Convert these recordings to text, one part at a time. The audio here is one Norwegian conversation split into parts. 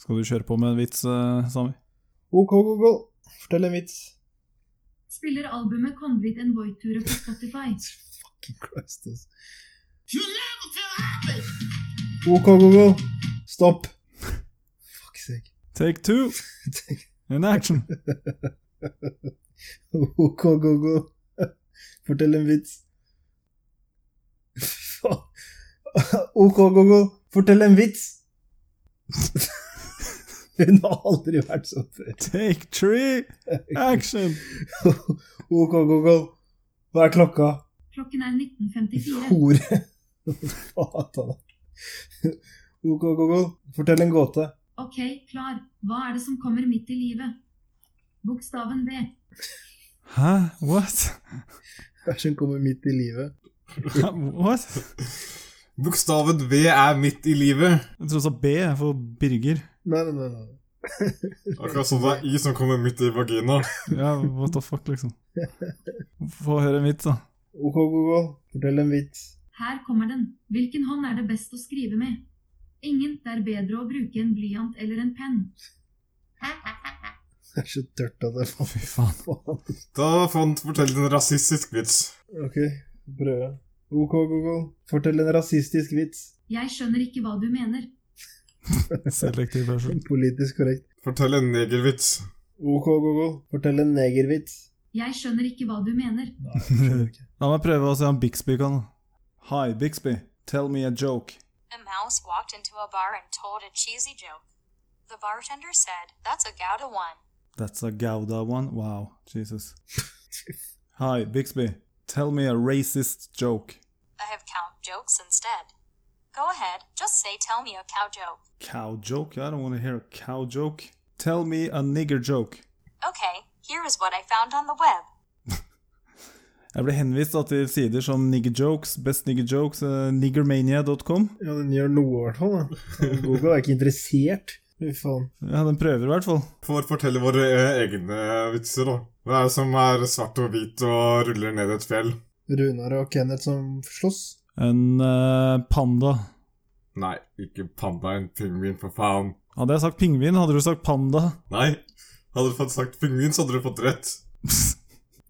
Skal du kjøre på med en vits, eh, Sami? OK, Google, fortell en vits. Spiller albumet Convit en Voiture på Spotify. Fucking Christ, altså. OK, Google, stopp. Fuck sake. Take two in action! OK, Google, fortell en vits. Faen. OK, Google, fortell en vits. Hun har aldri vært sånn før. Take three action! OK, Google, hva er klokka? Klokken er 19.54. Hore. Satan. OK, Google, fortell en gåte. Ok, klar. Hva er det som kommer midt i livet? Bokstaven B. Hæ? What? Hva som kommer midt i livet? Hæ? What? Bokstaven V er midt i livet. Jeg tror du sa B for Birger. Nei, nei, nei. nei. Akkurat som det er I som kommer midt i vagina. Ja, what the fuck, liksom. Få høre en vits, da. OK, Google, fortell en vits. Her kommer den. Hvilken hånd er det best å skrive med? Ingen. Det er bedre å bruke en blyant eller en penn. Det er så tørt at det er Å, fy faen. faen. Da får han fortelle en rasistisk vits. Ok, prøve. OK, Google, fortell en rasistisk vits. Jeg skjønner ikke hva du mener. Selektiv versjon. Politisk korrekt. Fortell en negervits. OK, Google, fortell en negervits. Jeg skjønner ikke hva du mener. Skjønner ikke. La meg prøve å se om Bixby kan. Hi, Bixby. Tell me a joke. A mouse walked into a bar and told a cheesy joke. The bartender said, That's a Gouda one. That's a Gouda one. Wow, Jesus. Hi, Bixby. Tell me a racist joke. I have cow jokes instead. Go ahead, just say, Tell me a cow joke. Cow joke? I don't want to hear a cow joke. Tell me a nigger joke. Okay, here is what I found on the web. Jeg ble henvist da, til sider som nigger jokes, best nigger jokes, eh, niggermania.com. Ja, den gjør noe, i hvert fall. da. Google er ikke interessert. Fy faen. Ja, den prøver i hvert fall. Får fortelle våre eh, egne vitser, da. Hva er det som er svart og hvit og ruller ned et fjell? Runar og Kenneth som slåss. En eh, panda. Nei, ikke panda, en pingvin, for faen. Hadde jeg sagt pingvin, hadde du sagt panda. Nei. Hadde du fått sagt pingvin, så hadde du fått rett.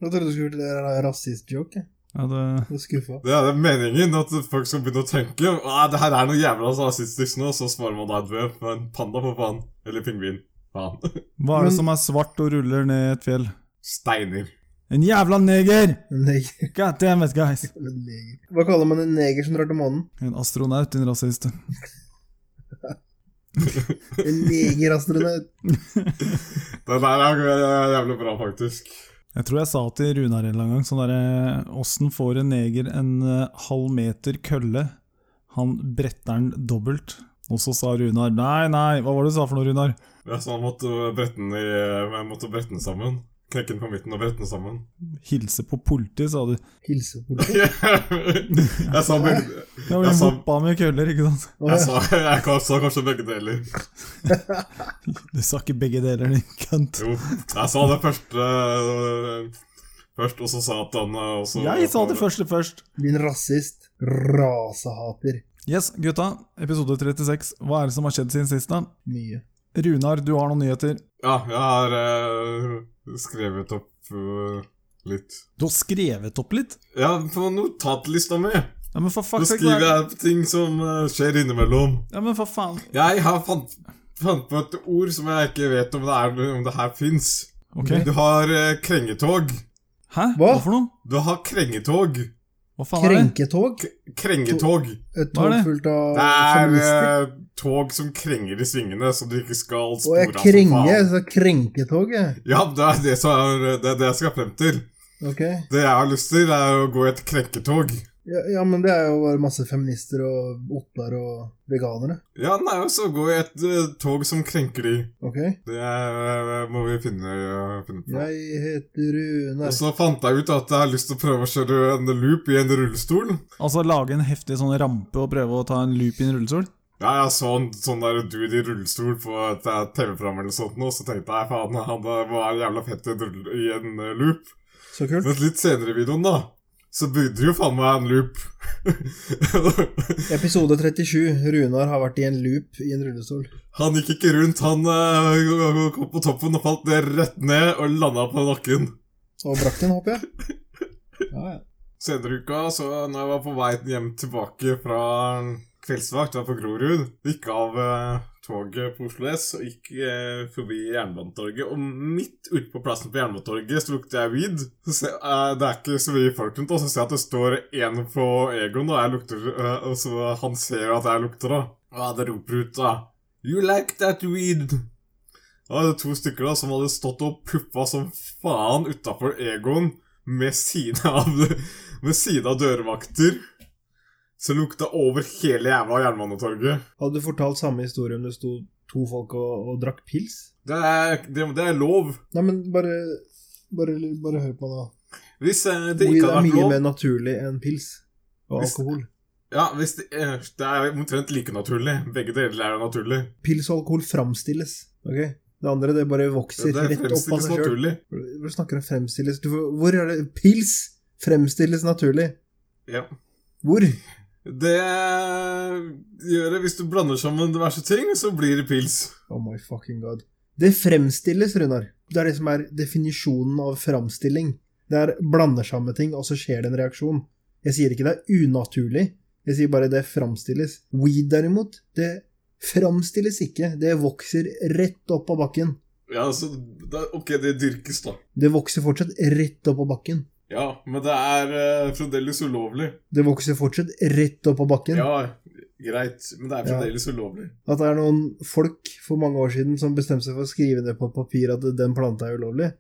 Jeg trodde du skulle til det der rasist-joke. jeg. Ja, det... Jeg er skuffa. Det er meningen at folk skal begynne å tenke «Ah, det her er noe jævla rasistisk nå, så svarer man da et V på en panda, for faen. Eller pingvin. Faen. Hva er det Men- som er svart og ruller ned et fjell? Steiner. En jævla neger! En neger. God damn it, guys! En neger. Hva kaller man en neger som drar til månen? En astronaut, din rasist. En negerastronaut. Det der er eh, jævlig bra, faktisk. Jeg tror jeg sa til Runar en eller annen gang sånn derre Åssen får en neger en eh, halv meter kølle? Han bretter den dobbelt. Og så sa Runar Nei, nei, hva var det du sa for noe, Runar? Ja, så han måtte brette den, sånn i, jeg måtte brette den sammen. Knekke den på midten og brette den sammen. Hilse på politiet, sa du. Hilse politiet. jeg sa begge Ja, Jeg men sa- hoppa med køller, ikke sant? Jeg sa, jeg kan- sa kanskje begge deler. Du sa ikke begge deler, din kønt. Jo, jeg sa det første eh, først, og så sa at han eh, også Jeg sa det første først. Din rasist. Rasehater. Yes, gutta. Episode 36. Hva er det som har skjedd siden sist, da? Mye. Runar, du har noen nyheter. Ja, jeg har eh, skrevet opp eh, litt. Du har skrevet opp litt? Ja, på notatlista mi. Ja, men for Så fuck sake, skriver da. jeg ting som eh, skjer innimellom. Ja, men for faen. Jeg har fant, fant på et ord som jeg ikke vet om det, er, om det her fins. Ok. Du har eh, krengetog. Hæ? Hva Hva? for noe? Du har krengetog. Hva faen er det? Krenketog. Krengetog. Et Hva er tog det? fullt av Det er feminister. eh, tog som krenger i svingene, så du ikke skal Og spore altså, jeg krenger, så krenketog, jeg. Ja, det er det, som er, det er det jeg skal frem til. Ok. Det jeg har lyst til, er å gå i et krenketog. Ja, ja, men det er jo bare masse feminister og ottar og veganere. Ja, nei, og så gå i et eh, tog som krenker de. Ok? Det eh, må vi finne, eh, finne på. Jeg heter Og Runar. så fant jeg ut at jeg har lyst til å prøve å kjøre en loop i en rullestol. Altså lage en heftig sånn rampe og prøve å ta en loop i en rullestol? Ja, jeg så en sånn der dude i rullestol på et eh, TV-program eller sånt nå, så tenkte jeg faen, han eh, var jævla fett i en rull- i en eh, loop. Så kult. Men litt senere i videoen, da, så burde det jo faen meg en loop. Episode 37. Runar har vært i en loop i en rullestol. han gikk ikke rundt, han eh, kom på toppen og falt ned rett ned og landa på nakken. Og brakk den, håper jeg. Ja, ja. Senere i uka, så når jeg var på vei hjem tilbake fra kveldsvakt her på Grorud, gikk av eh, toget på Oslo S og gikk eh, forbi Jernbanetorget, og midt ute på plassen på Jernbanetorget så lukter jeg weed. Så ser, eh, det er ikke så mye folk rundt, og så ser jeg at det står én på Egon, og, jeg lukter, eh, og så han ser jo at jeg lukter, da. Og det roper ut, da. You like that weed? Da var det to stykker da som hadde stått og puppa som faen utafor Egon med siden av, med siden av dørvakter. Som lukta over hele jævla Jernbanetorget. Hadde du fortalt samme historie om det sto to folk og, og drakk pils? Det er, det, det er lov. Nei, men bare, bare, bare hør på det, da. Hvis eh, det Weed ikke er hadde vært mye lov mer naturlig enn pils og Hvis- alkohol. Ja, hvis det, eh, det er omtrent like naturlig. Begge deler er jo naturlig. Pils og alkohol framstilles. ok? Det andre det bare vokser Det, det rett opp av fremstilles seg sjøl. naturlig. Hvor snakker om fremstilles? Du, får- hvor er det Pils fremstilles naturlig. Ja. Hvor? Det eh, gjør det hvis du blander sammen diverse ting, så blir det pils. Oh my fucking god. Det fremstilles, Runar. Det er det som er definisjonen av framstilling. Det er blander sammen ting, og så skjer det en reaksjon. Jeg sier ikke det er unaturlig, jeg sier bare det framstilles. Weed, derimot, det framstilles ikke. Det vokser rett opp av bakken. Ja, så da, Ok, det dyrkes, da. Det vokser fortsatt rett opp av bakken. Ja, men det er eh, fremdeles ulovlig. Det vokser fortsatt rett opp av bakken. Ja, greit, men det er fremdeles ulovlig. At det er noen folk for mange år siden som bestemte seg for å skrive ned på et papir at den planta er ulovlig.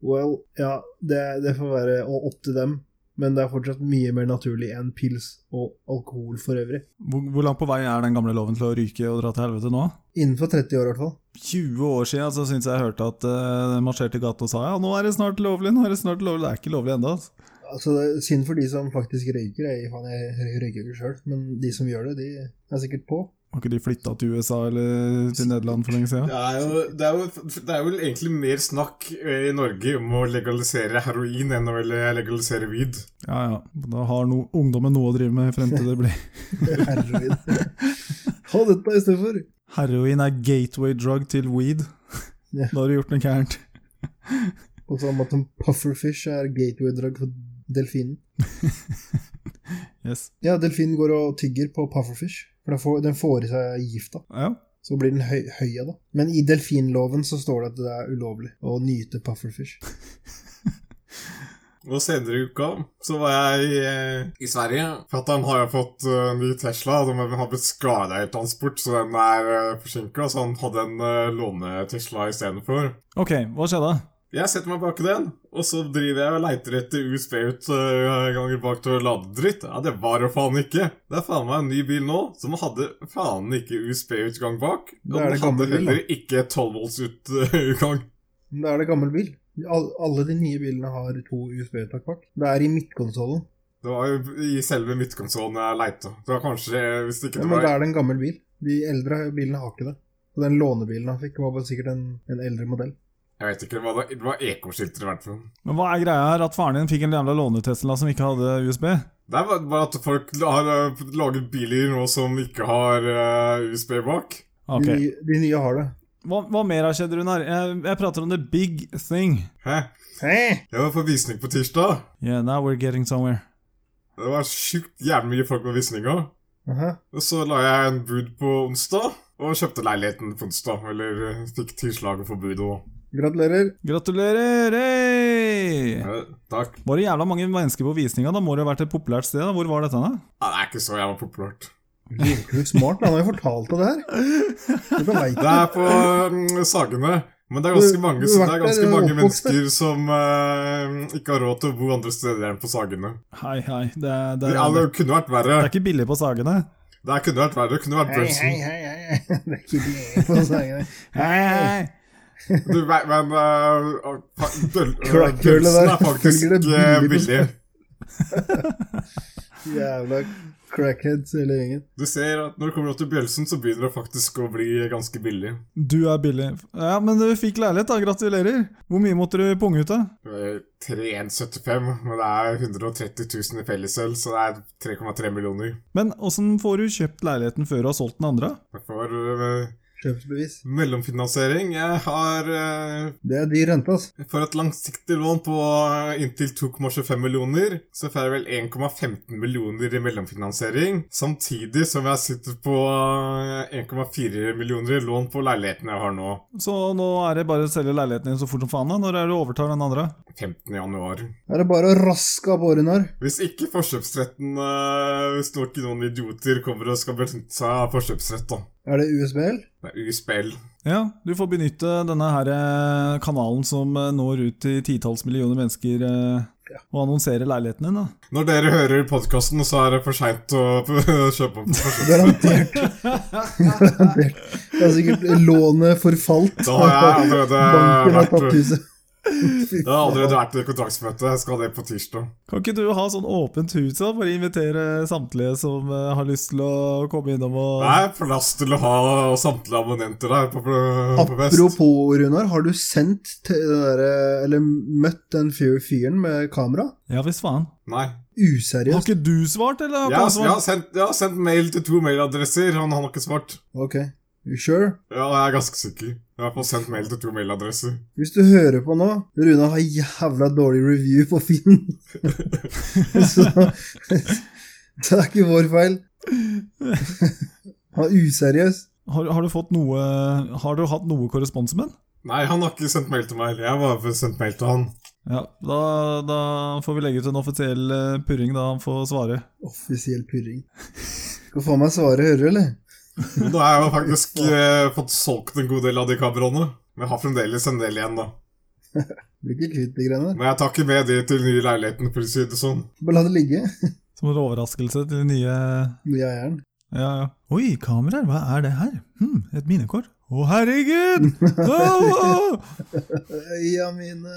Well, ja, det, det får være å- opp til dem, men det er fortsatt mye mer naturlig enn pils og alkohol for øvrig. Hvor, hvor langt på vei er den gamle loven til å ryke og dra til helvete nå? Innenfor 30 år, i hvert fall. 20 år siden så syntes jeg jeg hørte at eh, den marsjerte i gata og sa ja, nå er det snart lovlig, nå er det snart lovlig. Det er ikke lovlig ennå. Altså. Altså, det er synd for de som faktisk røyker. Jeg, faen, jeg røyker jo ikke sjøl, men de som gjør det, de er sikkert på. Har ikke de flytta til USA eller til Nederland for lenge siden? Det er, jo, det, er jo, det er vel egentlig mer snakk eh, i Norge om å legalisere heroin enn å le- legalisere weed. Ja ja, da har no, ungdommen noe å drive med frem til det blir Heroin. Ha dette istedenfor. Heroin er gateway drug til weed. Ja. Da har du gjort noe gærent. På samme måte som pufferfish er gateway-drug for delfinen. Yes. Ja, delfinen går og tygger på pufferfish, for den får, den får i seg gifta. Ja, Så blir den høy, høy av det. Men i delfinloven så står det at det er ulovlig å nyte pufferfish. Og senere i uka så var jeg eh, i Sverige. Fatter'n har jo fått eh, ny Tesla. De har har blitt skada i transport, så den er eh, forsinka. Så han hadde en eh, låne-Tesla istedenfor. Ok, hva skjedde? Jeg setter meg bak i den, og så driver jeg og leiter etter USB-utganger eh, bak til å lade dritt. Ja, det var jo faen ikke. Det er faen meg en ny bil nå som hadde faen ikke USB-utgang bak. Og Da er den det gammel hadde bil, da. heller ikke 12 volts ut- utgang. Men Da er det gammel bil. Al alle de nye bilene har to USB-uttak bak. Det er i midtkonsollen. Det var jo i selve midtkonsollen jeg leita. Det var kanskje Hvis Ja, ikke det men var da er det en gammel bil. De eldre bilene har ikke det. Og den lånebilen han fikk, var vel sikkert en, en eldre modell. Jeg vet ikke. Det var, det var ekoskilter, i hvert fall. Men Hva er greia her? At faren din fikk en jævla lånetesla som ikke hadde USB? Det er bare bare at folk har eh, laget biler nå som ikke har eh, USB bak. Ok. De, nye, de nye har det. Hva, hva mer har skjedd, Runar? Jeg, jeg prater om the big thing. Hæ? Hæ? Jeg var på visning på tirsdag. Yeah, now we're getting somewhere. Det var sjukt jævlig mye folk på visninga. Aha. Og så la jeg en bud på onsdag, og kjøpte leiligheten på onsdag. Eller eh, fikk tilslaget for budet òg. Gratulerer. Gratulerer! Hey! Eh, Takk. Var det jævla mange mennesker på visninga? Da må det ha vært et populært sted? da. Hvor var dette? da? Nei, det er ikke så jævla populært. Virkelig smart. Han har jo fortalt deg det her. Dette vet Det er på mm, Sagene. Men det er ganske mange, så det er ganske mange mennesker som eh, ikke har råd til å bo andre steder enn på Sagene. Hei, hei. Det, er- det, Det, ja, er- det kunne vært verre. det er ikke billig på Sagene. Det her kunne vært verre. Det kunne vært Hei, hei, Brunson. hei, hei. Det er ikke det på sangene. Hei, hei. Du, men men uh, Klakkhullet der eh, er faktisk følger det eh, billig på billig. Jævla Crackheads, hele gjengen. Du ser at når du kommer opp til Bjølsen, så begynner det faktisk å bli ganske billig. Du er billig. Ja, men du fikk leilighet, da. Gratulerer. Hvor mye måtte du punge ut, da? Eh, 3175, men det er 130 000 i fellesøl, så det er 3,3 millioner. Men åssen får du kjøpt leiligheten før du har solgt den andre? Jeg får eh, Kjøpsbevis. mellomfinansiering. Jeg har eh, Det er dyr rente, ass. jeg får et langsiktig lån på eh, inntil 2,25 millioner. Så får jeg vel 1,15 millioner i mellomfinansiering. Samtidig som jeg sitter på eh, 1,4 millioner i lån på leiligheten jeg har nå. Så nå er det bare å selge leiligheten din så fort som faen, da. Når er det du overtar den andre? 15. januar. Her er det bare å raske av gårde, Runar. Hvis ikke forkjøpsretten eh, Hvis nå ikke noen idioter kommer og skal benytte seg av forkjøpsrett, da. Er det USBL? Det er USBL. Ja, du får benytte denne her eh, kanalen som eh, når ut til titalls millioner mennesker, eh, og annonsere leiligheten din, da. Når dere hører podkasten, så er det for seint å kjøpe opp. Garantert. Garantert. Det er sikkert lånet forfalt. Da har jeg allerede Banken har vært- tatt huset. Fy Det har allerede faen. vært et kontraktsmøte. Jeg skal det på tirsdag. Kan ikke du ha sånn åpent hus, da? Bare invitere samtlige som eh, har lyst til å komme innom og Det er plass til å ha samtlige abonnenter der på, på, på fest. Apropos, Runar, har du sendt til den derre- eller møtt den fyr- fyren med kamera? Ja visst faen. Nei. Har Useriøst. ikke du svart, eller? Jeg, Har ikke han har- svart? jeg, har sendt, jeg har sendt mail til to mailadresser. Han, han har ikke svart. Ok, you sure? Ja, jeg er ganske sikker. Jeg har fått sendt mail til to mailadresser. Hvis du hører på nå, Runar har jævla dårlig review på Finn. Så det er ikke vår feil. Han er useriøs. Har, har, du fått noe, har du hatt noe korresponse med den? Nei, han har ikke sendt mail til meg. Jeg har bare sendt mail til han. Ja, da, da får vi legge ut en offisiell eh, purring da han får svare. Offisiell purring. Skal faen meg svare hører, eller? Og Da har jeg jo faktisk eh, fått solgt en god del av de kameraene. Men jeg har fremdeles en del igjen, da. Blir ikke kvitt de greiene. der. Men jeg tar ikke med de til nye leiligheten, for å si det sånn. Bare la det ligge. Som en overraskelse til de nye Mye av eieren. Ja, ja. Oi, kameraer, hva er det her? Hm, et minnekort? Å, herregud! Au, au! Øya mine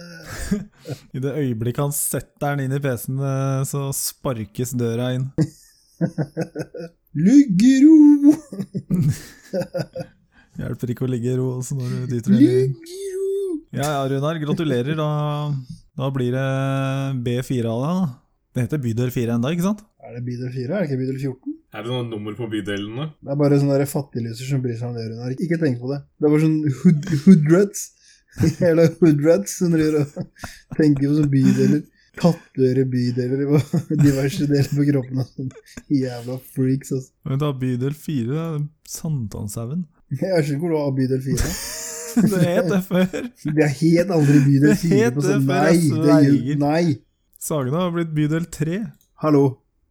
I det øyeblikket han setter den inn i PC-en, eh, så sparkes døra inn. Luggero! Hjelper ikke å ligge i ro også når du dyter den i Luggero! Ja ja, Runar, gratulerer. Da, da blir det B4 av deg, da. Det heter Bydel 4 ennå, ikke sant? Er det bydel 4? Er det ikke bydel 14? Er det noe nummer på bydelene? Det er bare sånne der fattiglyser som bryr seg om det, Runar. Ikke tenk på det. Det er bare sånn hood, hoodrats. Hele hoodrats som driver og tenker på sånne bydeler. Kattøre bydeler og diverse deler på kroppen og sånn. Jævla freaks, altså. Men da Bydel 4, det er Sankthanshaugen. Jeg skjønner ikke hvor du har bydel 4. Det het det før. Det er helt aldri bydel Det 4 het på det sånn. før Nei, jeg det er sverger. ju- Nei! Sagene har blitt Bydel 3. Hallo.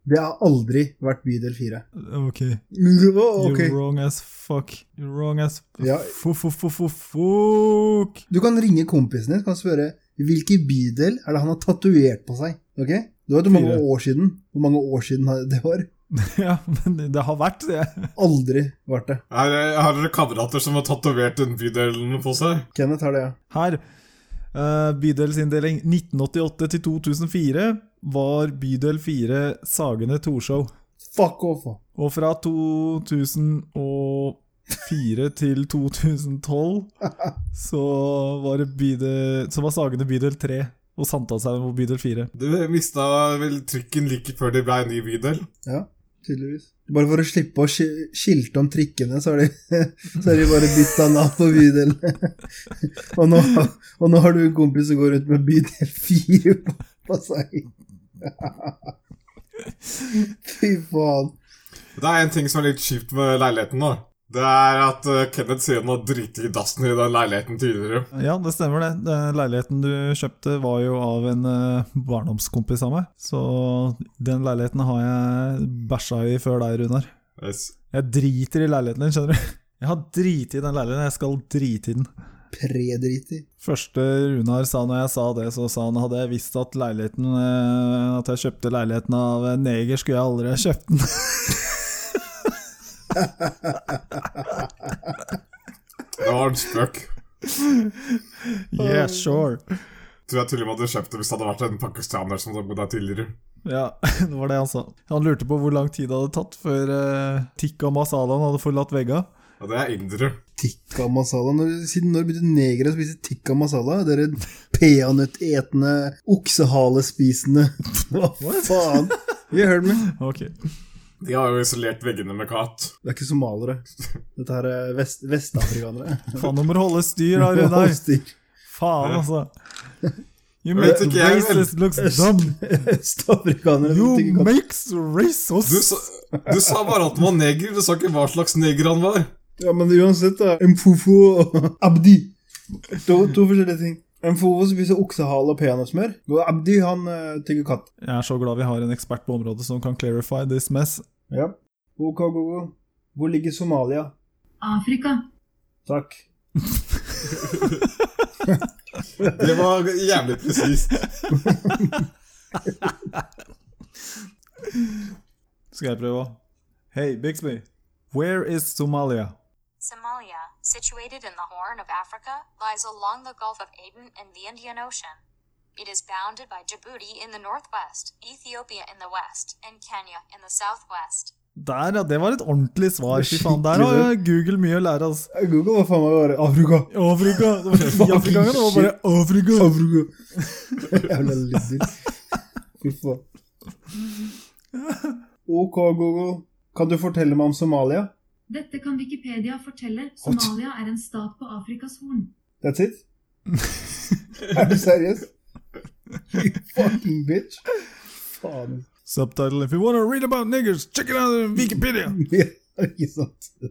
Det har aldri vært bydel 4. Ok. Å, ok. You're wrong as fuck. You're wrong as Ja. Fuck. Du kan ringe kompisen din og spørre hvilken bydel er det han har tatovert på seg. Ok? Du vet hvor mange Fire. år siden Hvor mange år siden det var? Ja, men det har vært det. Aldri vært det. Er, det- eh, har dere kamerater som har tatovert den bydelen på seg? Kenneth har det, ja. Her. eh, bydelsinndeling 1988 til 2004 var bydel 4 Sagene Torshov. Fuck off! da. Og fra 2004 til 2012 så var, det bydel, så var Sagene bydel 3 og Sankthanshaugen var bydel 4. Du mista vel trykken like før det ble en ny bydel? Tydeligvis. Bare for å slippe å sk- skilte om trikkene, så har de, så har de bare bytta navn på bydelen. og, nå, og nå har du en kompis som går rundt med bydel 4 på, på seg. Fy faen. Det er en ting som er litt kjipt med leiligheten, da. Det er at eh, Kenneth sier han har driti i dassen i den leiligheten tidligere. Ja, det stemmer det. Den leiligheten du kjøpte var jo av en eh, barndomskompis av meg. Så den leiligheten har jeg bæsja i før deg, Runar. Yes. Jeg driter i leiligheten din, skjønner du. Jeg har driti i den leiligheten, jeg skal drite i den. Predriti. Første Runar sa når jeg sa det, så sa han hadde jeg visst at leiligheten eh, At jeg kjøpte leiligheten av en neger, skulle jeg aldri ha kjøpt den. Det var en spøk. yeah, sure. Tror jeg til og med hadde kjøpt det hvis det hadde vært en pakistaner som hadde bodd der tidligere. Ja, det var det han sa. Han lurte på hvor lang tid det hadde tatt før eh, Tikka Masalaen hadde forlatt vegga. Og det er indere. Tikka masala? Når, siden når begynte negere å spise tikka masala? Dere peanøttetende, oksehalespisende Hva faen? Vi har hørt med. Ok. De har jo isolert veggene med kat. Det er ikke somalere. Dette her er vest, vestafrikanere. Faen, du må holde styr da, Runar. Styr. Faen, altså. You Vet make ikke jeg, men- races looks dumb. Østafrikanere som You tikka makes races Du, sa- du sa bare at han var neger, du sa ikke hva slags neger han var. Ja, men uansett, da. Mfofo og Abdi. To, to forskjellige ting. Mfofo spiser oksehale og peanøttsmør. Og Abdi han eh, tygger katt. Jeg er så glad vi har en ekspert på området som kan clarify this mess. Ja. Ok, Gogo. Hvor ligger Somalia? Afrika. Takk. Det var jævlig presist. Skal jeg prøve også? Hey, Bixby. Where is Somalia? Somalia, situated in the Horn of Africa, lies along the Gulf of Aden and the Indian Ocean. It is bounded by Djibouti in the northwest, Ethiopia in the west, and Kenya in the southwest. Der, ja. Det var et ordentlig svar. Fy faen, der Skikkelig har jo Google mye å lære, altså. Eh, Google var faen meg bare Afrika. Afrika! Det var ikke i Afrika engang, det var bare Afrika! Afrika. Jævla lydder. Fy faen. Ok, Gogo. Kan du fortelle meg om Somalia? Dette kan Wikipedia fortelle. Somalia er en stat på Afrikas horn. That's it? er du seriøs? You fucking bitch. Faen. Subtitle If you wanna read about niggers, check it out on Wikipedia! Ja, Ikke sant? Jeg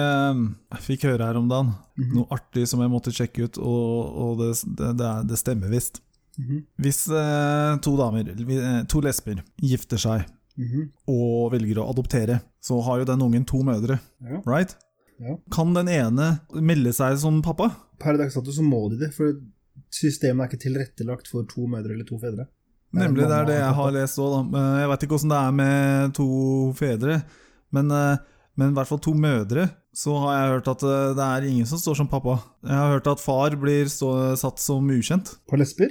eh, fikk høre her om dagen Mhm. noe artig som jeg måtte sjekke ut, og, og det, det, det, er, det stemmer visst. Mhm. Hvis eh, to damer, eh, to lesber, gifter seg Mhm. og velger å adoptere, så har jo den ungen to mødre, Ja. right? Ja. Kan den ene melde seg som pappa? Per dags dato så må de det, for systemet er ikke tilrettelagt for to mødre eller to fedre. Det er Nemlig, det mamma er det jeg og pappa. har lest òg, da. Eh, Jeg veit ikke åssen det er med to fedre, men, eh, men i hvert fall to mødre. Så har jeg hørt at eh, det er ingen som står som pappa. Jeg har hørt at far blir stå, satt som ukjent. På lesber?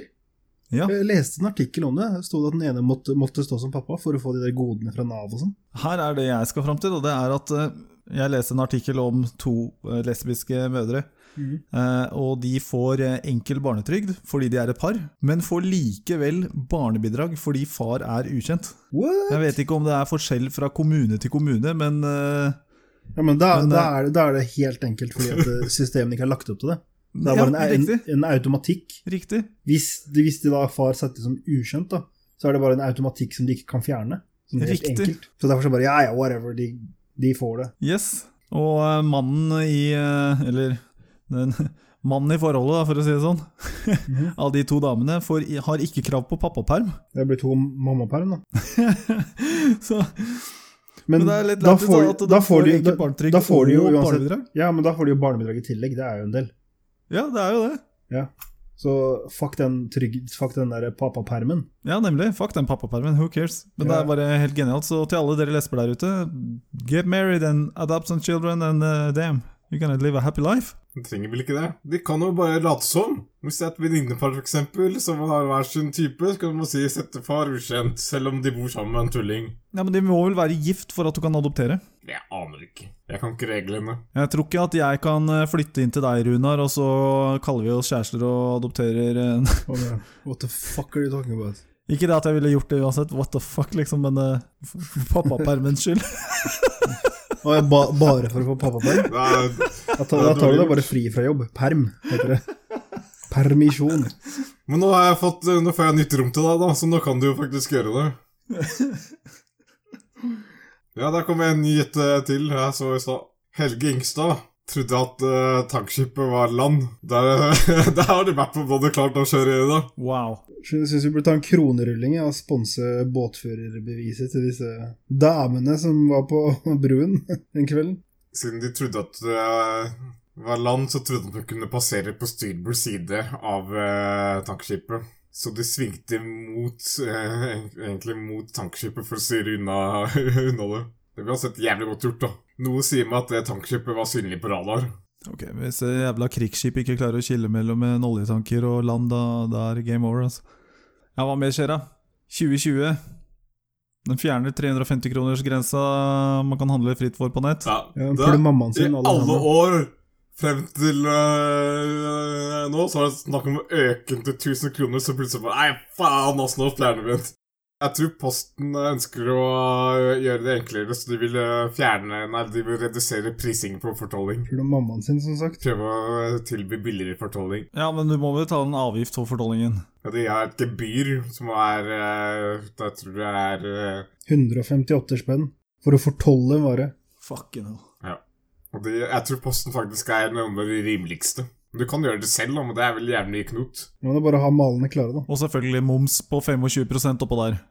Ja. Jeg leste en artikkel om det. Det stod at den ene måtte, måtte stå som pappa for å få de der godene fra Nav og sånn. Her er det jeg skal fram til, og det er at eh, jeg leste en artikkel om to eh, lesbiske mødre. Mhm. eh, Og de får eh, enkel barnetrygd fordi de er et par, men får likevel barnebidrag fordi far er ukjent. What? Jeg vet ikke om det er forskjell fra kommune til kommune, men eh, Ja, men eh, da, Men, da, er det, da er det helt enkelt fordi at eh, systemet ikke har lagt opp til det. Det er ja, bare en, en, riktig. en automatikk. Riktig. Hvis, de- hvis de da far settes som ukjønt, da, så er det bare en automatikk som de ikke kan fjerne. Som helt Riktig. enkelt. Så derfor så bare ja, ja, whatever, de, de får det. Yes. Og eh, mannen i eh, Eller den, mannen i forholdet, da, for å si det sånn. Mhm. Av de to damene får, har ikke krav på pappaperm. Det blir to mammaperm, da. så, Men, men det er litt da lættis får, at de- da får de, ikke da, barnetrygd da får de jo og uansett barnebidrag. Ja, men da får de jo barnebidrag i tillegg. Det er jo en del. Ja, det er jo det. Så fuck den, trygg, fuck den der pappapermen. Ja, nemlig. Fuck den pappapermen, who cares? Men det Ja. er bare helt genialt. Så til alle dere lesber der ute, get married and adopt some children and eh, damn, you're gonna live a happy life. De trenger vel ikke det. De kan jo bare late som. Hvis det er et venninnepar for eksempel, som har hver sin type, så kan man si 'sette far ukjent', selv om de bor sammen med en tulling. Ja, Men de må vel være gift for at du kan adoptere? Jeg aner ikke. Jeg kan ikke reglene. Jeg tror ikke at jeg kan eh, flytte inn til deg, Runar, og så kaller vi oss kjærester og adopterer en Og det- What the fuck are you talking about? Ikke det at jeg ville gjort det uansett, what the fuck, liksom, men eh, for pappapermens skyld. Og jeg ba, bare for å få pappaperm? Det er... Da tar, da tar du deg bare fri fra jobb. Perm, heter det. Permisjon. Men nå, har jeg fått, eh, nå får jeg nytt rom til deg, da, så nå kan du jo faktisk gjøre det. Ja, der kom en ny gjette til jeg så i stad. Helge Ingstad trodde at eh, tankskipet var land. Der, der har de vært på både klart å kjøre i dag. Wow. Så Jeg syns vi burde ta en kronerulling ja, og sponse båtførerbeviset til disse damene som var på bruen den kvelden. Siden de trodde at det var land, så trodde de de kunne passere på styrbord side av eh, tankskipet. Så de svingte mot, eh, eng- egentlig mot tankskipet for å styre unna, unna det. Det ble uansett jævlig godt gjort, da. Noe sier meg at det tankskipet var synlig på radar. Ok, Hvis det jævla krigsskip ikke klarer eh, å skille mellom en oljetanker og land, da, da er det game over, altså. Ja, hva mer skjer, da? 2020. Den fjerner 350-kronersgrensa man kan handle fritt for på nett. Ja, Ja, det- for mammaen I sin, alle alle sammen. år frem til øh, nå så har det snakk om å øke den til 1000 kroner, så plutselig bare Nei, faen, ass, nå fjerner vi den. Jeg tror Posten ønsker å øh, gjøre det enklere, så de vil øh, fjerne Nei, de vil redusere prisingen på fortolling. For det er mammaen sin, som sagt. Prøve å øh, tilby billigere fortolling. Ja, men du må vel ta en avgift for fortollingen. Ja, de har et gebyr som er øh, Da tror jeg det er øh, 158 spenn for å fortolle en vare. Fucking hell. og de, Jeg tror Posten faktisk er noen av de rimeligste. Du kan gjøre det selv, da, men det er vel jævlig knot. Nå må du bare ha malene klare, da. Og selvfølgelig moms på 25 oppå der.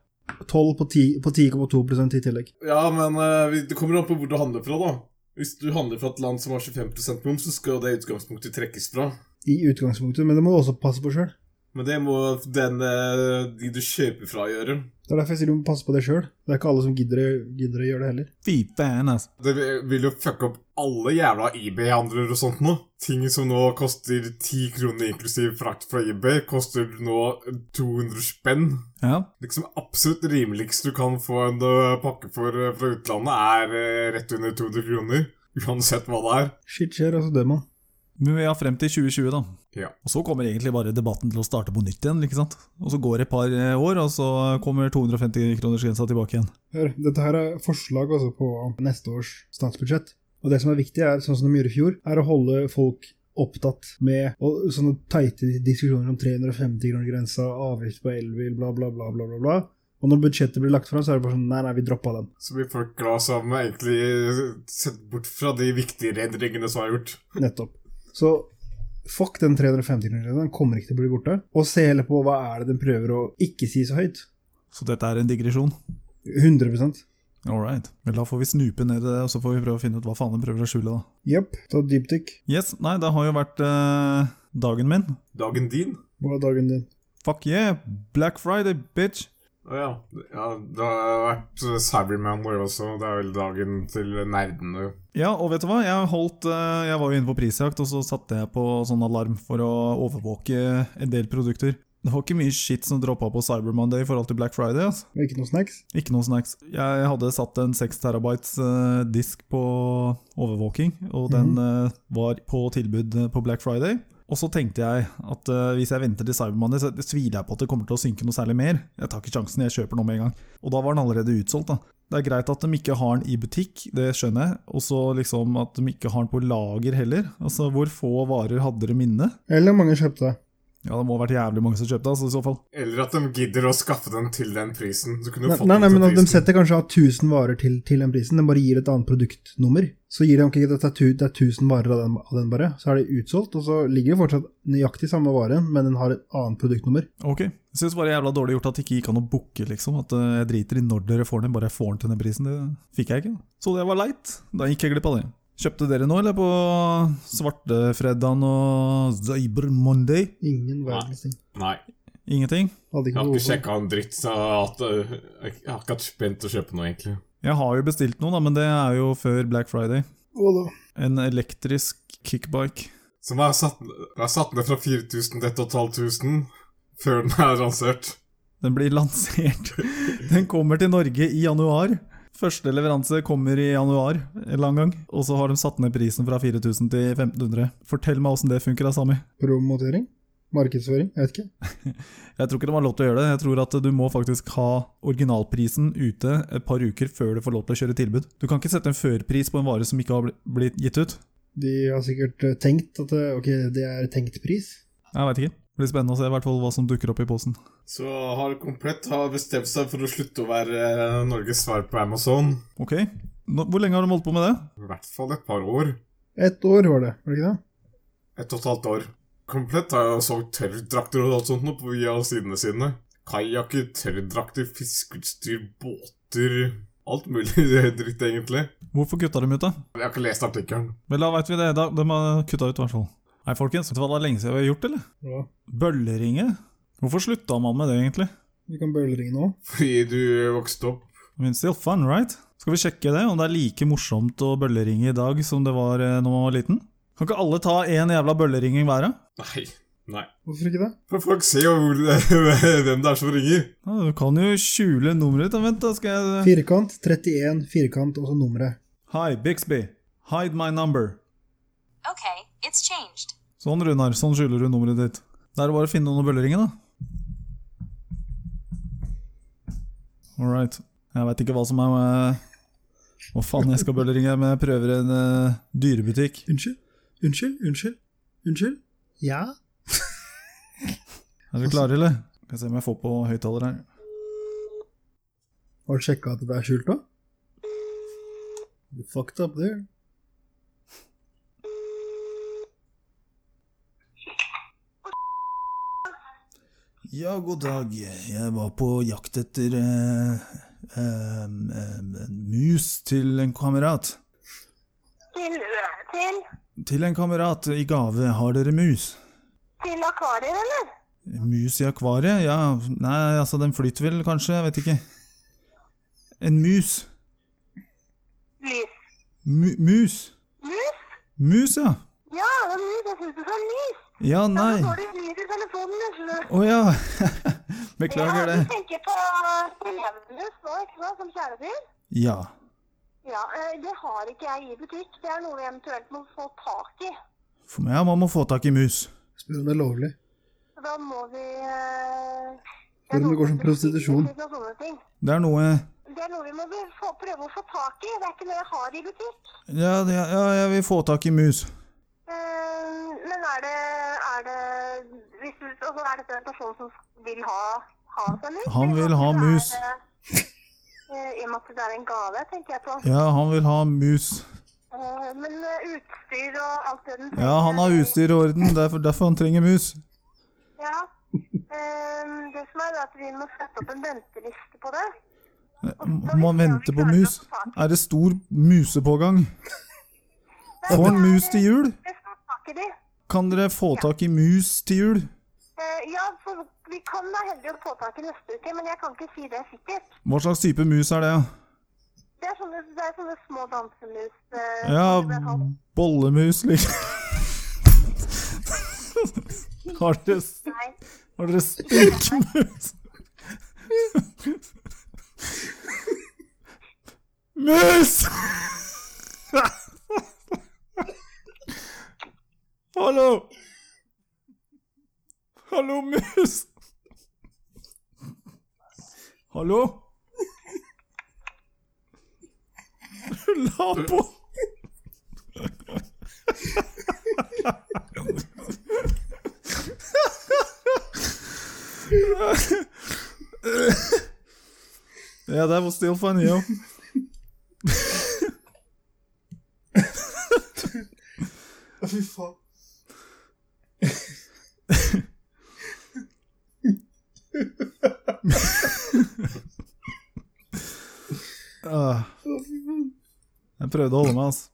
12 på 10 på 10,2 i tillegg. Ja, men eh, vi- det kommer an på hvor du handler fra, da. Hvis du handler fra et land som har 25 moms, så skal jo det i utgangspunktet trekkes fra. I utgangspunktet, men det må du også passe på sjøl. Men det må den, eh, de du kjøper fra, gjøre. Det er derfor jeg sier du må passe på det sjøl. Det er ikke alle som gidder, gidder å gjøre det heller. Fy faen, ass. Det vil- vil jo fucke opp alle jævla eBay-handlere og sånt nå. Ting som nå koster 10 kroner inklusiv frakt fra eBay, koster nå 200 spenn. Ja. Liksom absolutt rimeligst du kan få en eh, pakke for eh, fra utlandet, er eh, rett under 200 kroner. Uansett hva det er. Shit skjer, altså det, mann. Men vi har frem til 2020, da. Ja. Og så kommer egentlig bare debatten til å starte på nytt igjen, ikke sant? Og så går det et par eh, år, og så kommer 250-kronersgrensa tilbake igjen. Hør, dette her er forslag altså på neste års statsbudsjett. Og det som er viktig, er, sånn som de gjorde i fjor, er å holde folk opptatt med og sånne teite diskusjoner om 350-kronergrensa, avgift på elbil, bla, bla, bla, bla, bla, bla. Og når budsjettet blir lagt fram, så er det bare sånn Nei, nei, vi droppa den. Så blir folk glad som egentlig sett bort fra de viktige endringene som er gjort. Nettopp. Så fuck den 350-kronergrensa, den kommer ikke til å bli borte. Og se heller på hva er det den prøver å ikke si så høyt. Så dette er en digresjon. 100 All right. Vel, da får vi snupe ned i det, og så får vi prøve å finne ut hva faen de prøver å skjule, da. Jepp. Ta dypdykk. Yes, nei, det har jo vært eh, dagen min. Dagen din? Hva er dagen din? Fuck yeah! Black Friday, bitch! Å ja. ja. Det har vært Cyberman War også. Det er vel dagen til nerdene. Ja, og vet du hva? Jeg, holdt, eh, jeg var jo inne på prisjakt, og så satte jeg på sånn alarm for å overvåke en del produkter. Det var ikke mye shit som droppa på Cyber Monday i forhold til Black Friday. altså. Og Ikke noe snacks? Ikke noe snacks. Jeg hadde satt en 6 terabytes eh, disk på overvåking, og den eh, var på tilbud eh, på Black Friday. Og så tenkte jeg at eh, hvis jeg venter til Cyber Monday, så tviler jeg på at det kommer til å synke noe særlig mer. Jeg tar ikke sjansen, jeg kjøper noe med en gang. Og da var den allerede utsolgt, da. Det er greit at de ikke har den i butikk, det skjønner jeg. Og så liksom at de ikke har den på lager heller. Altså, hvor få varer hadde de inne? Eller mange kjøpte det? Ja, det må ha vært jævlig mange som kjøpte, altså, i så fall. Eller at de gidder å skaffe den til den prisen. Du kunne Nei, jo fått nei, nei, den men til De prisen. setter kanskje av 1000 varer til, til den prisen, de bare gir et annet produktnummer. Så gir de ok, det er, tu, det er 1000 varer av den, av den bare, så er det utsolgt. Og så ligger det fortsatt nøyaktig samme varen, men den har et annet produktnummer. Ok. Jeg syns bare det er jævla dårlig gjort at det ikke gikk an å booke, liksom. At eh, jeg driter i når dere får den, bare jeg får den til den prisen. Det fikk jeg ikke. Så det var leit. Da gikk jeg glipp av det. Kjøpte dere nå, eller på svartefredagen og Cyber Monday? Ingen verdens ting. Nei. Ingenting? Hadde Jeg ikke noe har ikke behov for. sjekka en dritt. Så jeg har hatt, øh, jeg jeg har ikke hatt spent å kjøpe noe, egentlig. Jeg har jo bestilt noe, da, men det er jo før Black Friday. Å da. En elektrisk kickbike. Som jeg har satt, jeg har satt ned fra 4000 til 1500 før den er lansert. Den blir lansert. Den kommer til Norge i januar. Første leveranse kommer i januar en eller annen gang. Og så har de satt ned prisen fra 4000 til 1500. Fortell meg åssen det funker, da, Sami. Promotering? Markedsføring? Jeg vet ikke. Jeg tror ikke de har lov til å gjøre det. Jeg tror at du må faktisk ha originalprisen ute et par uker før du får lov til å kjøre tilbud. Du kan ikke sette en førpris på en vare som ikke har bli- blitt gitt ut. De har sikkert eh, tenkt at det, ok, det er tenkt pris. Jeg veit ikke. Det blir spennende å se i hvert fall hva som dukker opp i posen. Så har Komplett har bestemt seg for å slutte å være øh, Norges svar på Amazon. Ok. Nå, hvor lenge har de holdt på med det? I hvert fall et par år. Ett år var det, var det ikke det? Ett og et halvt år. Komplett har jo solgt tørrdrakter og alt sånt nå på via sidene sine. Kajakker, tørrdrakter, fiskeutstyr, båter Alt mulig dritt, egentlig. Hvorfor kutta de ut, da? Jeg har ikke lest artikkelen. Vel, da veit vi det. Da, de har kutta ut, i hvert fall. Nei, folkens, vet du hva det er lenge siden vi har gjort, eller? Ja. Bølleringe? Hvorfor slutta man med det, egentlig? Vi kan bølleringe nå. Fordi du vokste opp. I mean, still fun, right? Skal vi sjekke det, om det er like morsomt å bølleringe i dag som det var eh, når man var liten? Kan ikke alle ta én jævla bølleringing hver, da? Nei. Nei. Hvorfor ikke det? For folk ser jo hvor, hvem det er som ringer. Ja, du kan jo skjule nummeret ditt. da. Vent, da skal jeg eh, Firkant, 31, firkant, og så nummeret. Hi, Bixby. Hide my number. Okay, it's changed. Sånn, Runar. Sånn skjuler du nummeret ditt. Da er det bare å finne noen å bølleringe, da. All right. Jeg veit ikke hva som er eh, Hva faen jeg skal bølleringe, men jeg prøver en eh, dyrebutikk. Unnskyld? Unnskyld? Unnskyld? Unnskyld? Ja? Er dere klare, eller? Skal jeg se om jeg får på høyttaler her. Har du sjekka at det er skjult, da? You fucked up there. Ja, god dag. Jeg var på jakt etter eh, em, em, en mus til en kamerat. Til, til, Til en kamerat i gave. Har dere mus? til akvarier, eller? Mus i akvariet? Ja, nei, altså den flyter vel kanskje, jeg vet ikke. En mus. Lys. Mu mus. Lys? Mus, ja. Ja, det er lys. Jeg synes det er lys. Ja, Nei. nei. Så får du lys i telefonen, jeg skjønner. Å ja. Ja, Beklager du det. tenker på på levenløs nå, ikke sant, som kjæledyr? Ja. Ja, eh, det har ikke jeg i butikk. Det er noe vi eventuelt må få tak i. For meg, man må få tak i mus. Spør om det er lovlig. Så Da må vi... eh, Spør om det går som prostitusjon. Det er sånne ting. Det er noe Det er noe vi må be- få, prøve å få tak i. Det er ikke noe jeg har i butikk. Ja, det- ja jeg vil få tak i mus. Eh, Men er det, er det hvis du, altså er dette en person som vil ha, ha seg mus? Han vil ha Eller mus. er det- eh, I og med at det er en gave, tenker jeg på. Ja, han vil ha mus. Eh, Men eh, utstyr og alt det den Ja, han har utstyr i orden, derfor, derfor han trenger mus. Ja. Eh, Det som er, er at vi må sette opp en venteliste på det. Må han vente på mus? Er det stor musepågang? Får han mus til jul? eh, Det skal tak i de. Kan dere få tak i mus til jul? Eh, Ja, for vi kan da heldigvis få tak i neste uke, men jeg kan ikke si det sikkert. Hva slags type mus er det? ja? Det er sånne, det er sånne små dansemus. eh, som det ble Ja, kalt. bollemus, liksom. Har dere, Nei. har dere stikkmus? Mus! Hallo! Hallo, mus! Hallo? La på! Yeah, that was still funny, yo. Fy faen. Ah. Jeg prøvde å holde meg, altså.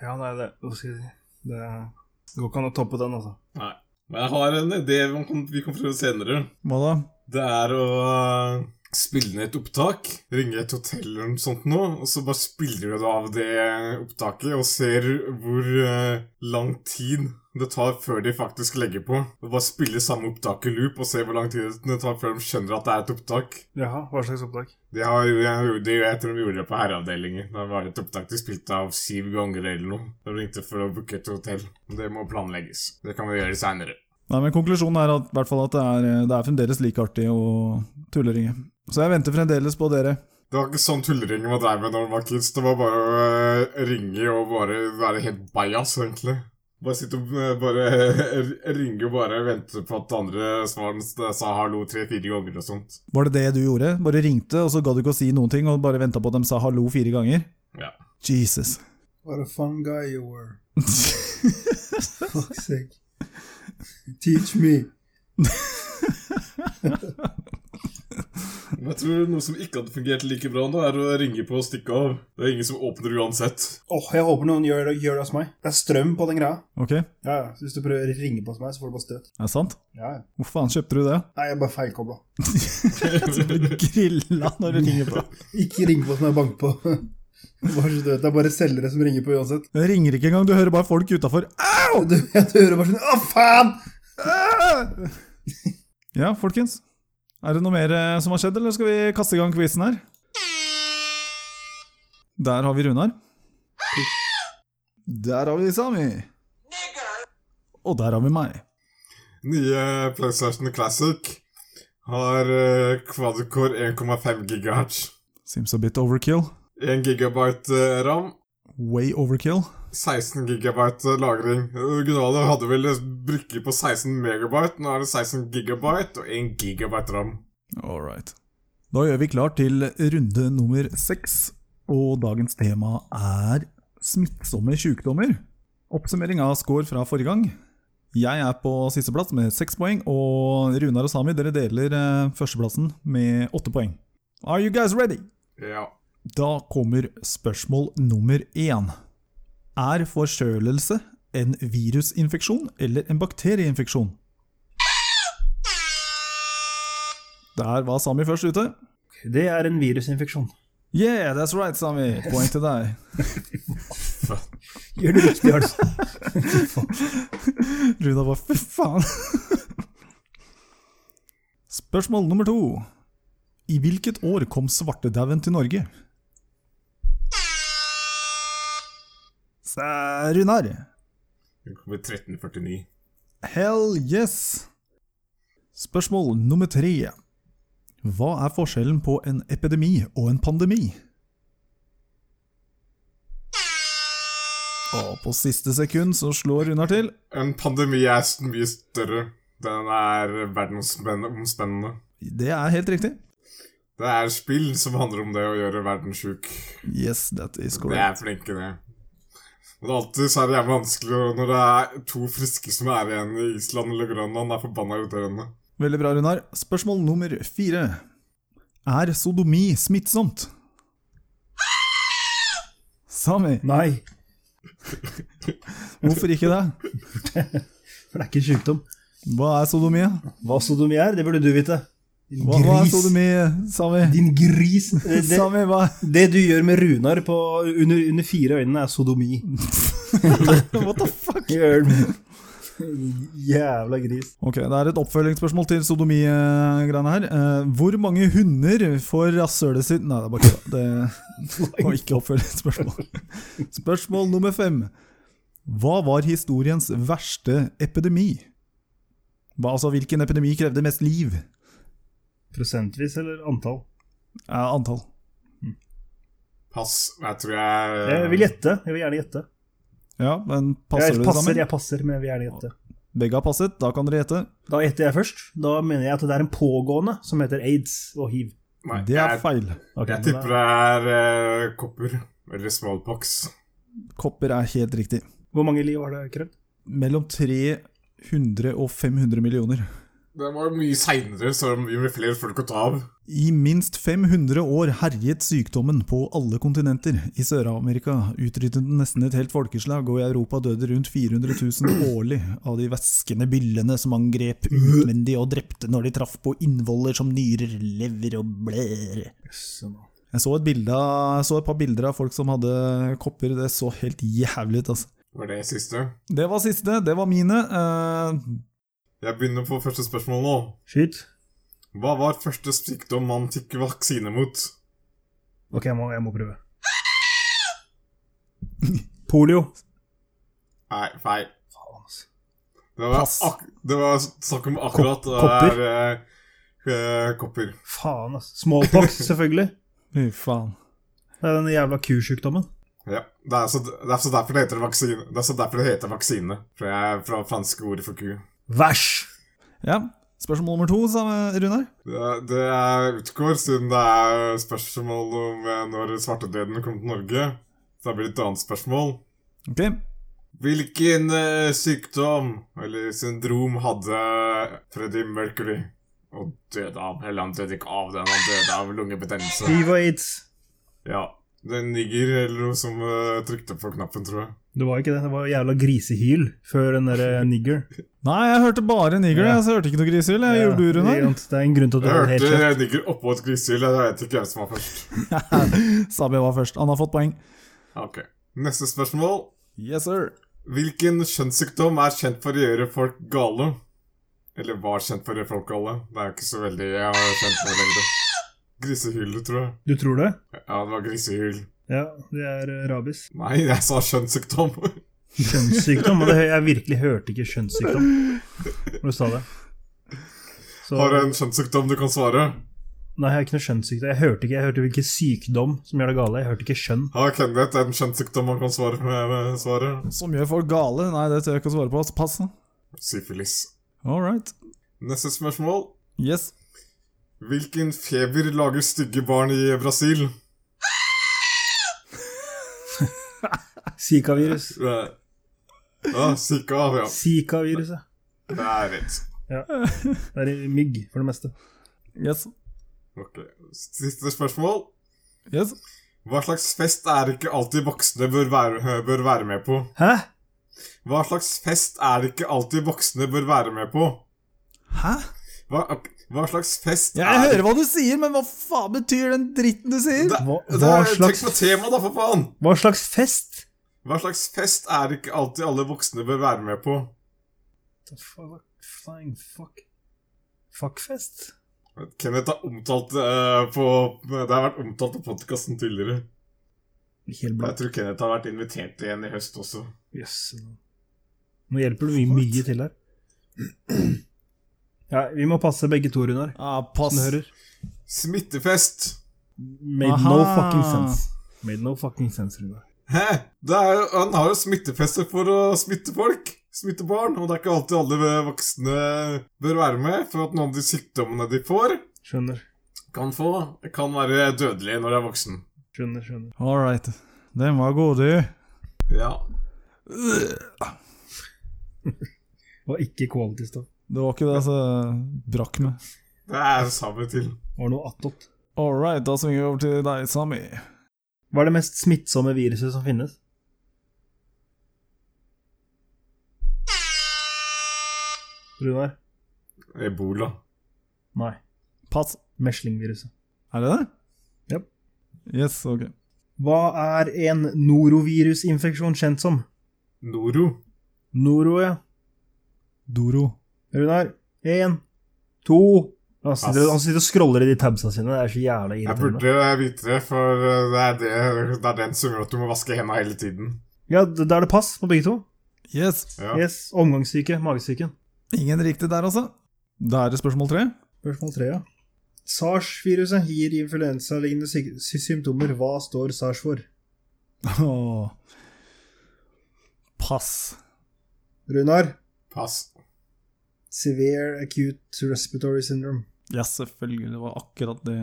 Ja, nei, det Hva skal jeg si? Det går ikke an å toppe den, altså. Nei. Men jeg har en idé man kan- vi kan prøve senere. Hva da? Det er å øh, spille ned et opptak, ringe et hotell eller noe sånt nå, og så bare spiller du av det opptaket og ser hvor øh, lang tid det tar før de faktisk legger på. Og bare spille samme opptak i loop og se hvor lang tid det tar før de skjønner at det er et opptak. Jaha, hva slags opptak? Det har jo jeg, gjorde- det, jeg tror de gjorde det på herreavdelingen. Da var det et opptak de spilte av syv ganger eller noe. De ringte for å booke et hotell. Det må planlegges. Det kan vi gjøre seinere. Nei, men Konklusjonen er at, i hvert fall at det er, eh, det er fremdeles like artig å tulleringe. Så jeg venter fremdeles på dere. Det var ikke sånn tulleringe man dreiv med når man var kids. Det var bare å eh, ringe og bare være helt bajas, egentlig. Bare sitte og eh, bare eh, ringe og bare vente på at andre svaren s- sa hallo tre-fire ganger og sånt. Var det det du gjorde? Bare ringte, og så gadd du ikke å si noen ting, og bare venta på at de sa hallo fire ganger? Ja. Jesus. What a fun guy you were. Fuck's sake. Teach me. Men jeg tror noe som ikke hadde fungert like bra nå, er å ringe på og stikke av. Det er ingen som åpner uansett. Åh, jeg håper noen gjør, gjør det hos meg. Det er strøm på den greia. Ok, er Ja, ja. Så hvis du prøver å ringe på hos meg, så får du bare støt. det sant? Ja, ja. Hvor faen kjøpte du det? Nei, jeg er bare feilkobla. Grilla når du ringer på. Ikke ring på som jeg banker på. Bare så du vet, Det er bare selgere som ringer på uansett. Jeg ringer ikke engang, du hører bare folk utafor. Du, jeg hører bare sånn Å, faen! Ah! Ja, folkens. Er det noe mer eh, som har skjedd, eller skal vi kaste i gang quizen her? Der har vi Runar. Der har vi Sami. Og der har vi meg. Nye PlayStation Classic har eh, quadcore 1,5 GHz. Seems a bit overkill. 1 GB eh, ram. Way overkill. 16 GB lagring. Det originale hadde vel brikke på 16 MB, nå er det 16 GB og 1 GB ram. All right. Da gjør vi klar til runde nummer seks, og dagens tema er smittsomme sykdommer. Oppsummering av score fra forrige gang. Jeg er på sisteplass med seks poeng, og Runar og Sami dere deler eh, førsteplassen med åtte poeng. Are you guys ready? Ja. Da kommer spørsmål nummer én. Er forkjølelse en virusinfeksjon eller en bakterieinfeksjon? Der var Sami først ute. Det er en virusinfeksjon. Yeah, that's right, Sami. Poeng til deg. Gjør det riktig, altså. Runa bare fy faen. Spørsmål nummer to. I hvilket år kom svartedauden til Norge? Sa Runar. Den kommer i 1349. Hell yes! Spørsmål nummer tre. Hva er forskjellen på en epidemi og en pandemi? Og på siste sekund så slår Runar til. En pandemi er s- mye større. Den er verdensomspennende. Det er helt riktig. Det er spill som handler om det å gjøre verden sjuk. Yes, that is Det correct. er flinke, det. Men alltid så er det jævlig vanskelig når det er to friske som er igjen i Island eller Grønland. Det er forbanna irriterende. Veldig bra, Runar. Spørsmål nummer fire. Er sodomi smittsomt? Sami, Nei, hvorfor ikke det? for det er ikke en sykdom. Hva er sodomi? Hva sodomi er, det burde du vite. Din Hva, hva er sodomi, Sami? Din gris. Eh, Det, Sami, hva det du gjør med Runar på, under, under fire øynene, er sodomi. What the fuck? Gjør den. Jævla gris. Ok, Det er et oppfølgingsspørsmål til sodomi-greiene her. Eh, hvor mange hunder får rasshølet sitt Nei, det er bare kødda. Det var ikke oppfølgingsspørsmål. Spørsmål nummer fem. Hva var historiens verste epidemi? Hva, altså, Hvilken epidemi krevde mest liv? Prosentvis eller antall? Eh, antall. Pass. Jeg tror jeg Jeg vil gjette. Jeg vil gjerne gjette. Ja, men passer Jeg det passer, sammen? jeg passer, men jeg vil gjerne gjette. Begge har passet, da kan dere gjette. Da gjetter jeg først. Da mener jeg at det er en pågående som heter aids og hiv. Nei, Det er jeg, feil. Ok, jeg men tipper da- det er eh, kopper. Eller smallpox. Kopper er helt riktig. Hvor mange liv har det krevd? Mellom 300 og 500 millioner. Det var jo mye seinere, så det var mye flere folk å ta av. I minst 500 år herjet sykdommen på alle kontinenter. I Sør-Amerika utryddet den nesten et helt folkeslag, og i Europa døde rundt 400 000 årlig av de væskende byllene som angrep utvendig og drepte når de traff på innvoller som nyrer, lever og blær. Jeg så et, bilde, av- jeg så et par bilder av folk som hadde kopper, det så helt jævlig ut, altså. Var det siste? Det var siste, det var mine. Eh, Jeg begynner på første spørsmål nå. Skyt. Hva var første sykdom man fikk vaksine mot? Ok, jeg må, jeg må prøve. Polio. Nei, feil. Faen, altså. Det var, Pass. ak det var snakk om akkurat det kopper? er, eh, eh, kopper. Faen, altså. Smallpox, selvfølgelig. Fy faen. Det er den jævla kusjukdommen. Ja. Det er, så, det er så derfor det heter vaksine. Det er så derfor det heter vaksine. For jeg er fra franske ordet for ku. Væsj! Ja, spørsmål nummer to, sa Runar. Det, det er- utgår siden det er spørsmål om eh, når svartedauden kom til Norge. Så det blir et annet spørsmål. Ok, Hvilken eh, sykdom eller syndrom hadde Freddie Mercury? Og døde av. Eller han døde ikke av den, han døde av lungebetennelse. Hiv og aids. Ja. Det er en nigger eller noe som eh, trykte på knappen, tror jeg. Det var ikke det. Det var jævla grisehyl før den derre nigger. Nei, jeg hørte bare nigger. Ja. Jeg så hørte ikke noe grisehyll. Jeg Ja, gjorde du, ikke Runar. sant? Det er en grunn til at du Jeg har helt hørte kjeft. nigger oppå et grisehyll. Jeg vet ikke hvem som var først. Sabi var først. Han har fått poeng. Ok. Neste spørsmål. Yes, sir. Hvilken kjønnssykdom er kjent for å gjøre folk gale? Eller var kjent for det folkeholdet. Det er jo ikke så veldig jeg har kjent for lenger. Grisehyl, tror jeg. Du tror det? Ja, det var grisehyl. Ja, det er eh, rabies. Nei, jeg sa kjønnssykdom. Kjønnssykdom. Og det, hø- jeg virkelig hørte ikke kjønnssykdom når du sa det. Så, Har du en kjønnssykdom du kan svare? Nei, jeg har ikke noe kjønnssykdom. Jeg hørte ikke, jeg hørte hvilken sykdom som gjør deg gale. Jeg hørte ikke kjønn. Har Kenneth en kjønnssykdom han kan svare eh, med svaret? Som gjør folk gale? Nei, det tør jeg ikke å svare på. altså. Pass. Syfilis. All right. Neste spørsmål. Yes. Hvilken feber lager stygge barn i Brasil? Zika-virus. Eh, Ja, Zika, ja. Zika-viruset. Det er rett. Det er i mygg, for det meste. Yes. Ok, Siste spørsmål. Yes. Hva slags fest er det ikke alltid voksne bør være, bør være med på? Hæ? Hva slags fest er det ikke alltid voksne bør være med på? Hæ? Hva, ok, hva slags fest Jeg er hører hva du sier, men hva faen betyr den dritten du sier? det, Hva, det, hva, er- slags, Tenk på temaet, da, for faen! hva slags fest? Hva slags fest er det ikke alltid alle voksne bør være med på? The fuck, flying fuck. Fuckfest? Kenneth har omtalt eh, på Det har vært omtalt på podkasten tidligere. Helt Jeg blant. tror Kenneth har vært invitert igjen i høst også. Jøss. Nå hjelper du mye, mye til her. Ja, vi må passe begge to, Runar. Ah, pass. Som du hører. Smittefest! Made no Aha. fucking sense. Made no fucking sense, Runar. Hæ? Det er jo, han har jo smittefester for å smitte folk. Smitte barn. Og det er ikke alltid alle voksne bør være med, for at noen av de sykdommene de får, Skjønner. kan få, kan være dødelige når de er voksen. Skjønner, skjønner. All right. Den var god, du. Ja. Og ikke quality stuff. Det var ikke det som brakk meg. Det er samme til. Var noe attåt. All right, da svinger vi over til deg, Sami. Hva er det mest smittsomme viruset som finnes? Runar? Ebola. Nei. Pass. Meslingviruset. Er det det? Japp. Yes, ok. Hva er en norovirusinfeksjon kjent som? Noro. Noro, ja. Doro. Runar, én, to han sitter, Pass. han sitter og scroller i de tabsa sine. Det er så jævla Jeg irriterende. burde vite det, for eh, det er, det, det er den som gjør at du må vaske hendene hele tiden. Ja, d- Da er det pass på begge to. Yes. Ja. Yes, Omgangssyke, magesyken. Ingen riktig der, altså. Da er det spørsmål tre. Spørsmål tre, ja. Sars-viruset gir influensalignende syk- sy symptomer. Hva står sars for? Åh. Pass. Runar, Pass. severe acute respiratory syndrome. Ja, selvfølgelig. Det var akkurat det.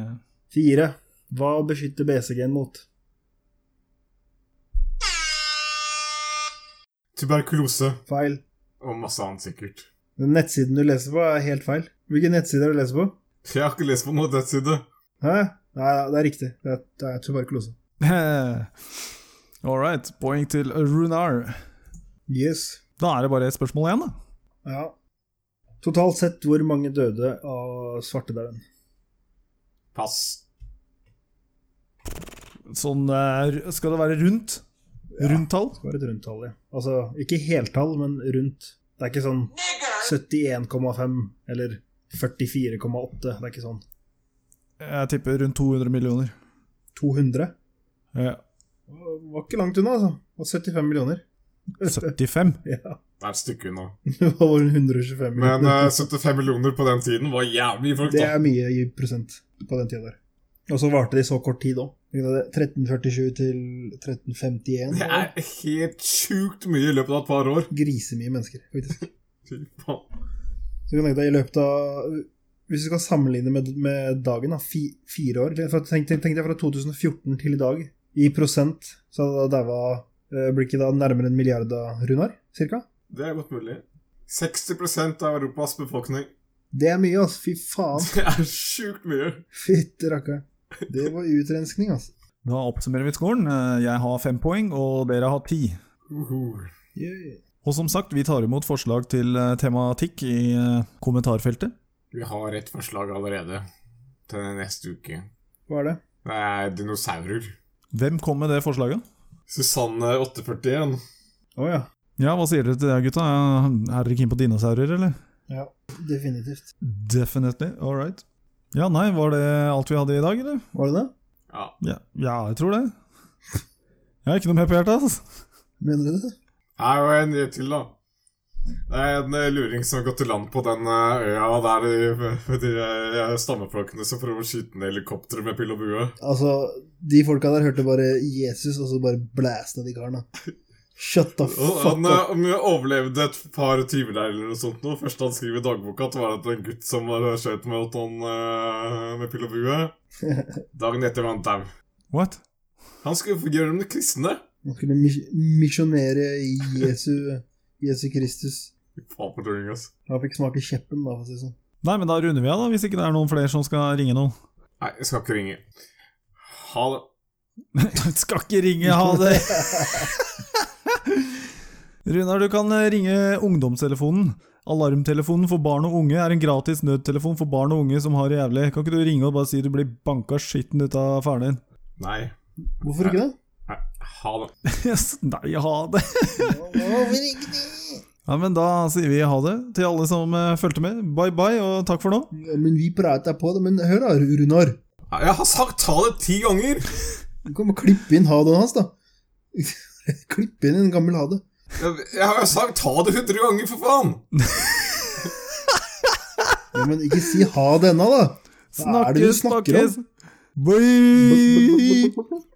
Fire. Hva beskytter BCG-en mot? Tuberkulose. Feil. Og masse annet sikkert. Den nettsiden du leser på, er helt feil. Hvilken nettside er det du leser på? Jeg har ikke lest på noen nettside. Hæ? Nei, det er riktig. Det er, det er tuberkulose. All right, poeng til Runar. Yes. Da er det bare et spørsmål igjen, da. Ja. Totalt sett, hvor mange døde av svartedauden? Pass. Sånn eh, Skal det være rundt? Rundtall? Det var et rundtall, ja. Altså, ikke heltall, men rundt. Det er ikke sånn 71,5 eller 44,8. Det er ikke sånn. Jeg tipper rundt 200 millioner. 200? Eh, Det var ikke langt unna, altså. Det var 75 millioner. 75? Ja. Det er et stykke unna. Det var vel 125 Men millioner. eh, 75 millioner på den tiden var jævlig mye folk, Det da. er mye i prosent på den tida der. Og så varte det i så kort tid òg. 1347 til 1351. Det var er helt sjukt mye i løpet av et par år. Grisemye mennesker, faktisk. Fy faen. Så du kan tenke deg i løpet av Hvis du skal sammenligne med, med dagen, da, fi, fire år for Tenk tenk- tenk deg fra 2014 til i dag. I prosent så hadde det daua eh, Blir ikke da nærmere en milliard da, Runar? Cirka? Det er godt mulig. 60 av Europas befolkning. Det er mye, altså. Fy faen. Det er sjukt mye. Fytti rakkeren. Det var utrenskning, altså. Da oppsummerer vi skolen. Eh, Jeg har fem poeng, og dere har ti. Uhu. Yeah. Og som sagt, vi tar imot forslag til eh, tematikk i eh, kommentarfeltet. Vi har et forslag allerede til neste uke. Hva er det? Det er dinosaurer. Hvem kom med det forslaget? Susanne 841. Å ja. Ja, hva sier dere til det, gutta? Er dere keen på dinosaurer, eller? Ja, definitivt. Definitely. All right. Ja, nei, var det alt vi hadde i dag, eller? Var det det? Ja. Ja, ja jeg tror det. Jeg har ikke noe mer på hjertet, altså. Mener du det? Her var en ny til, da. Det er en eh, luring som har gått i land på den eh, øya der de, de eh, stammeflokkene som prøver å skyte ned helikopteret med pil og bue. Altså, de folka der hørte bare Jesus, og så bare blæsta de karene. Shut the Og fuck Han up. eh, om jeg overlevde et par timer der eller noe sånt. nå. Første han skriver i dagboka, at det var at en gutt som var skjøt med at han eh, med pil og bue. Dagen etter var han dau. What? Han skulle få gjøre dem de kristne. Han skulle mis- misjonere i Jesu, Jesu Kristus. Fy Faen for luring, ass. Han fikk smake kjeppen, da, for å si det sånn. Nei, men da runder vi av, da, hvis ikke det er noen flere som skal ringe noen. Nei, jeg skal ikke ringe. Ha det. skal ikke ringe, ha det! Runar, du kan eh, ringe ungdomstelefonen. Alarmtelefonen for barn og unge er en gratis nødtelefon for barn og unge som har det jævlig. Kan ikke du ringe og bare si du blir banka skitten ut av faren din? Nei. Hvorfor ikke det? Nei. Ha det. Yes, nei, ha det! Hvorfor ikke det? Ja, men da sier vi ha det til alle som eh, fulgte med. Bye bye, og takk for nå. Ja, men vi prata på det. Men hør da, Runar. Nei, Jeg har sagt ha det ti ganger! Du kan bare klippe inn ha-det hans, da. klippe inn en gammel ha-det. Jeg, jeg har jo sagt ta det 100 ganger, for faen! Ja, men ikke si ha det ennå, da. Hva er det du Snakkes, snakker om? snakkes! Bye! Bop, bop, bop, bop, bop.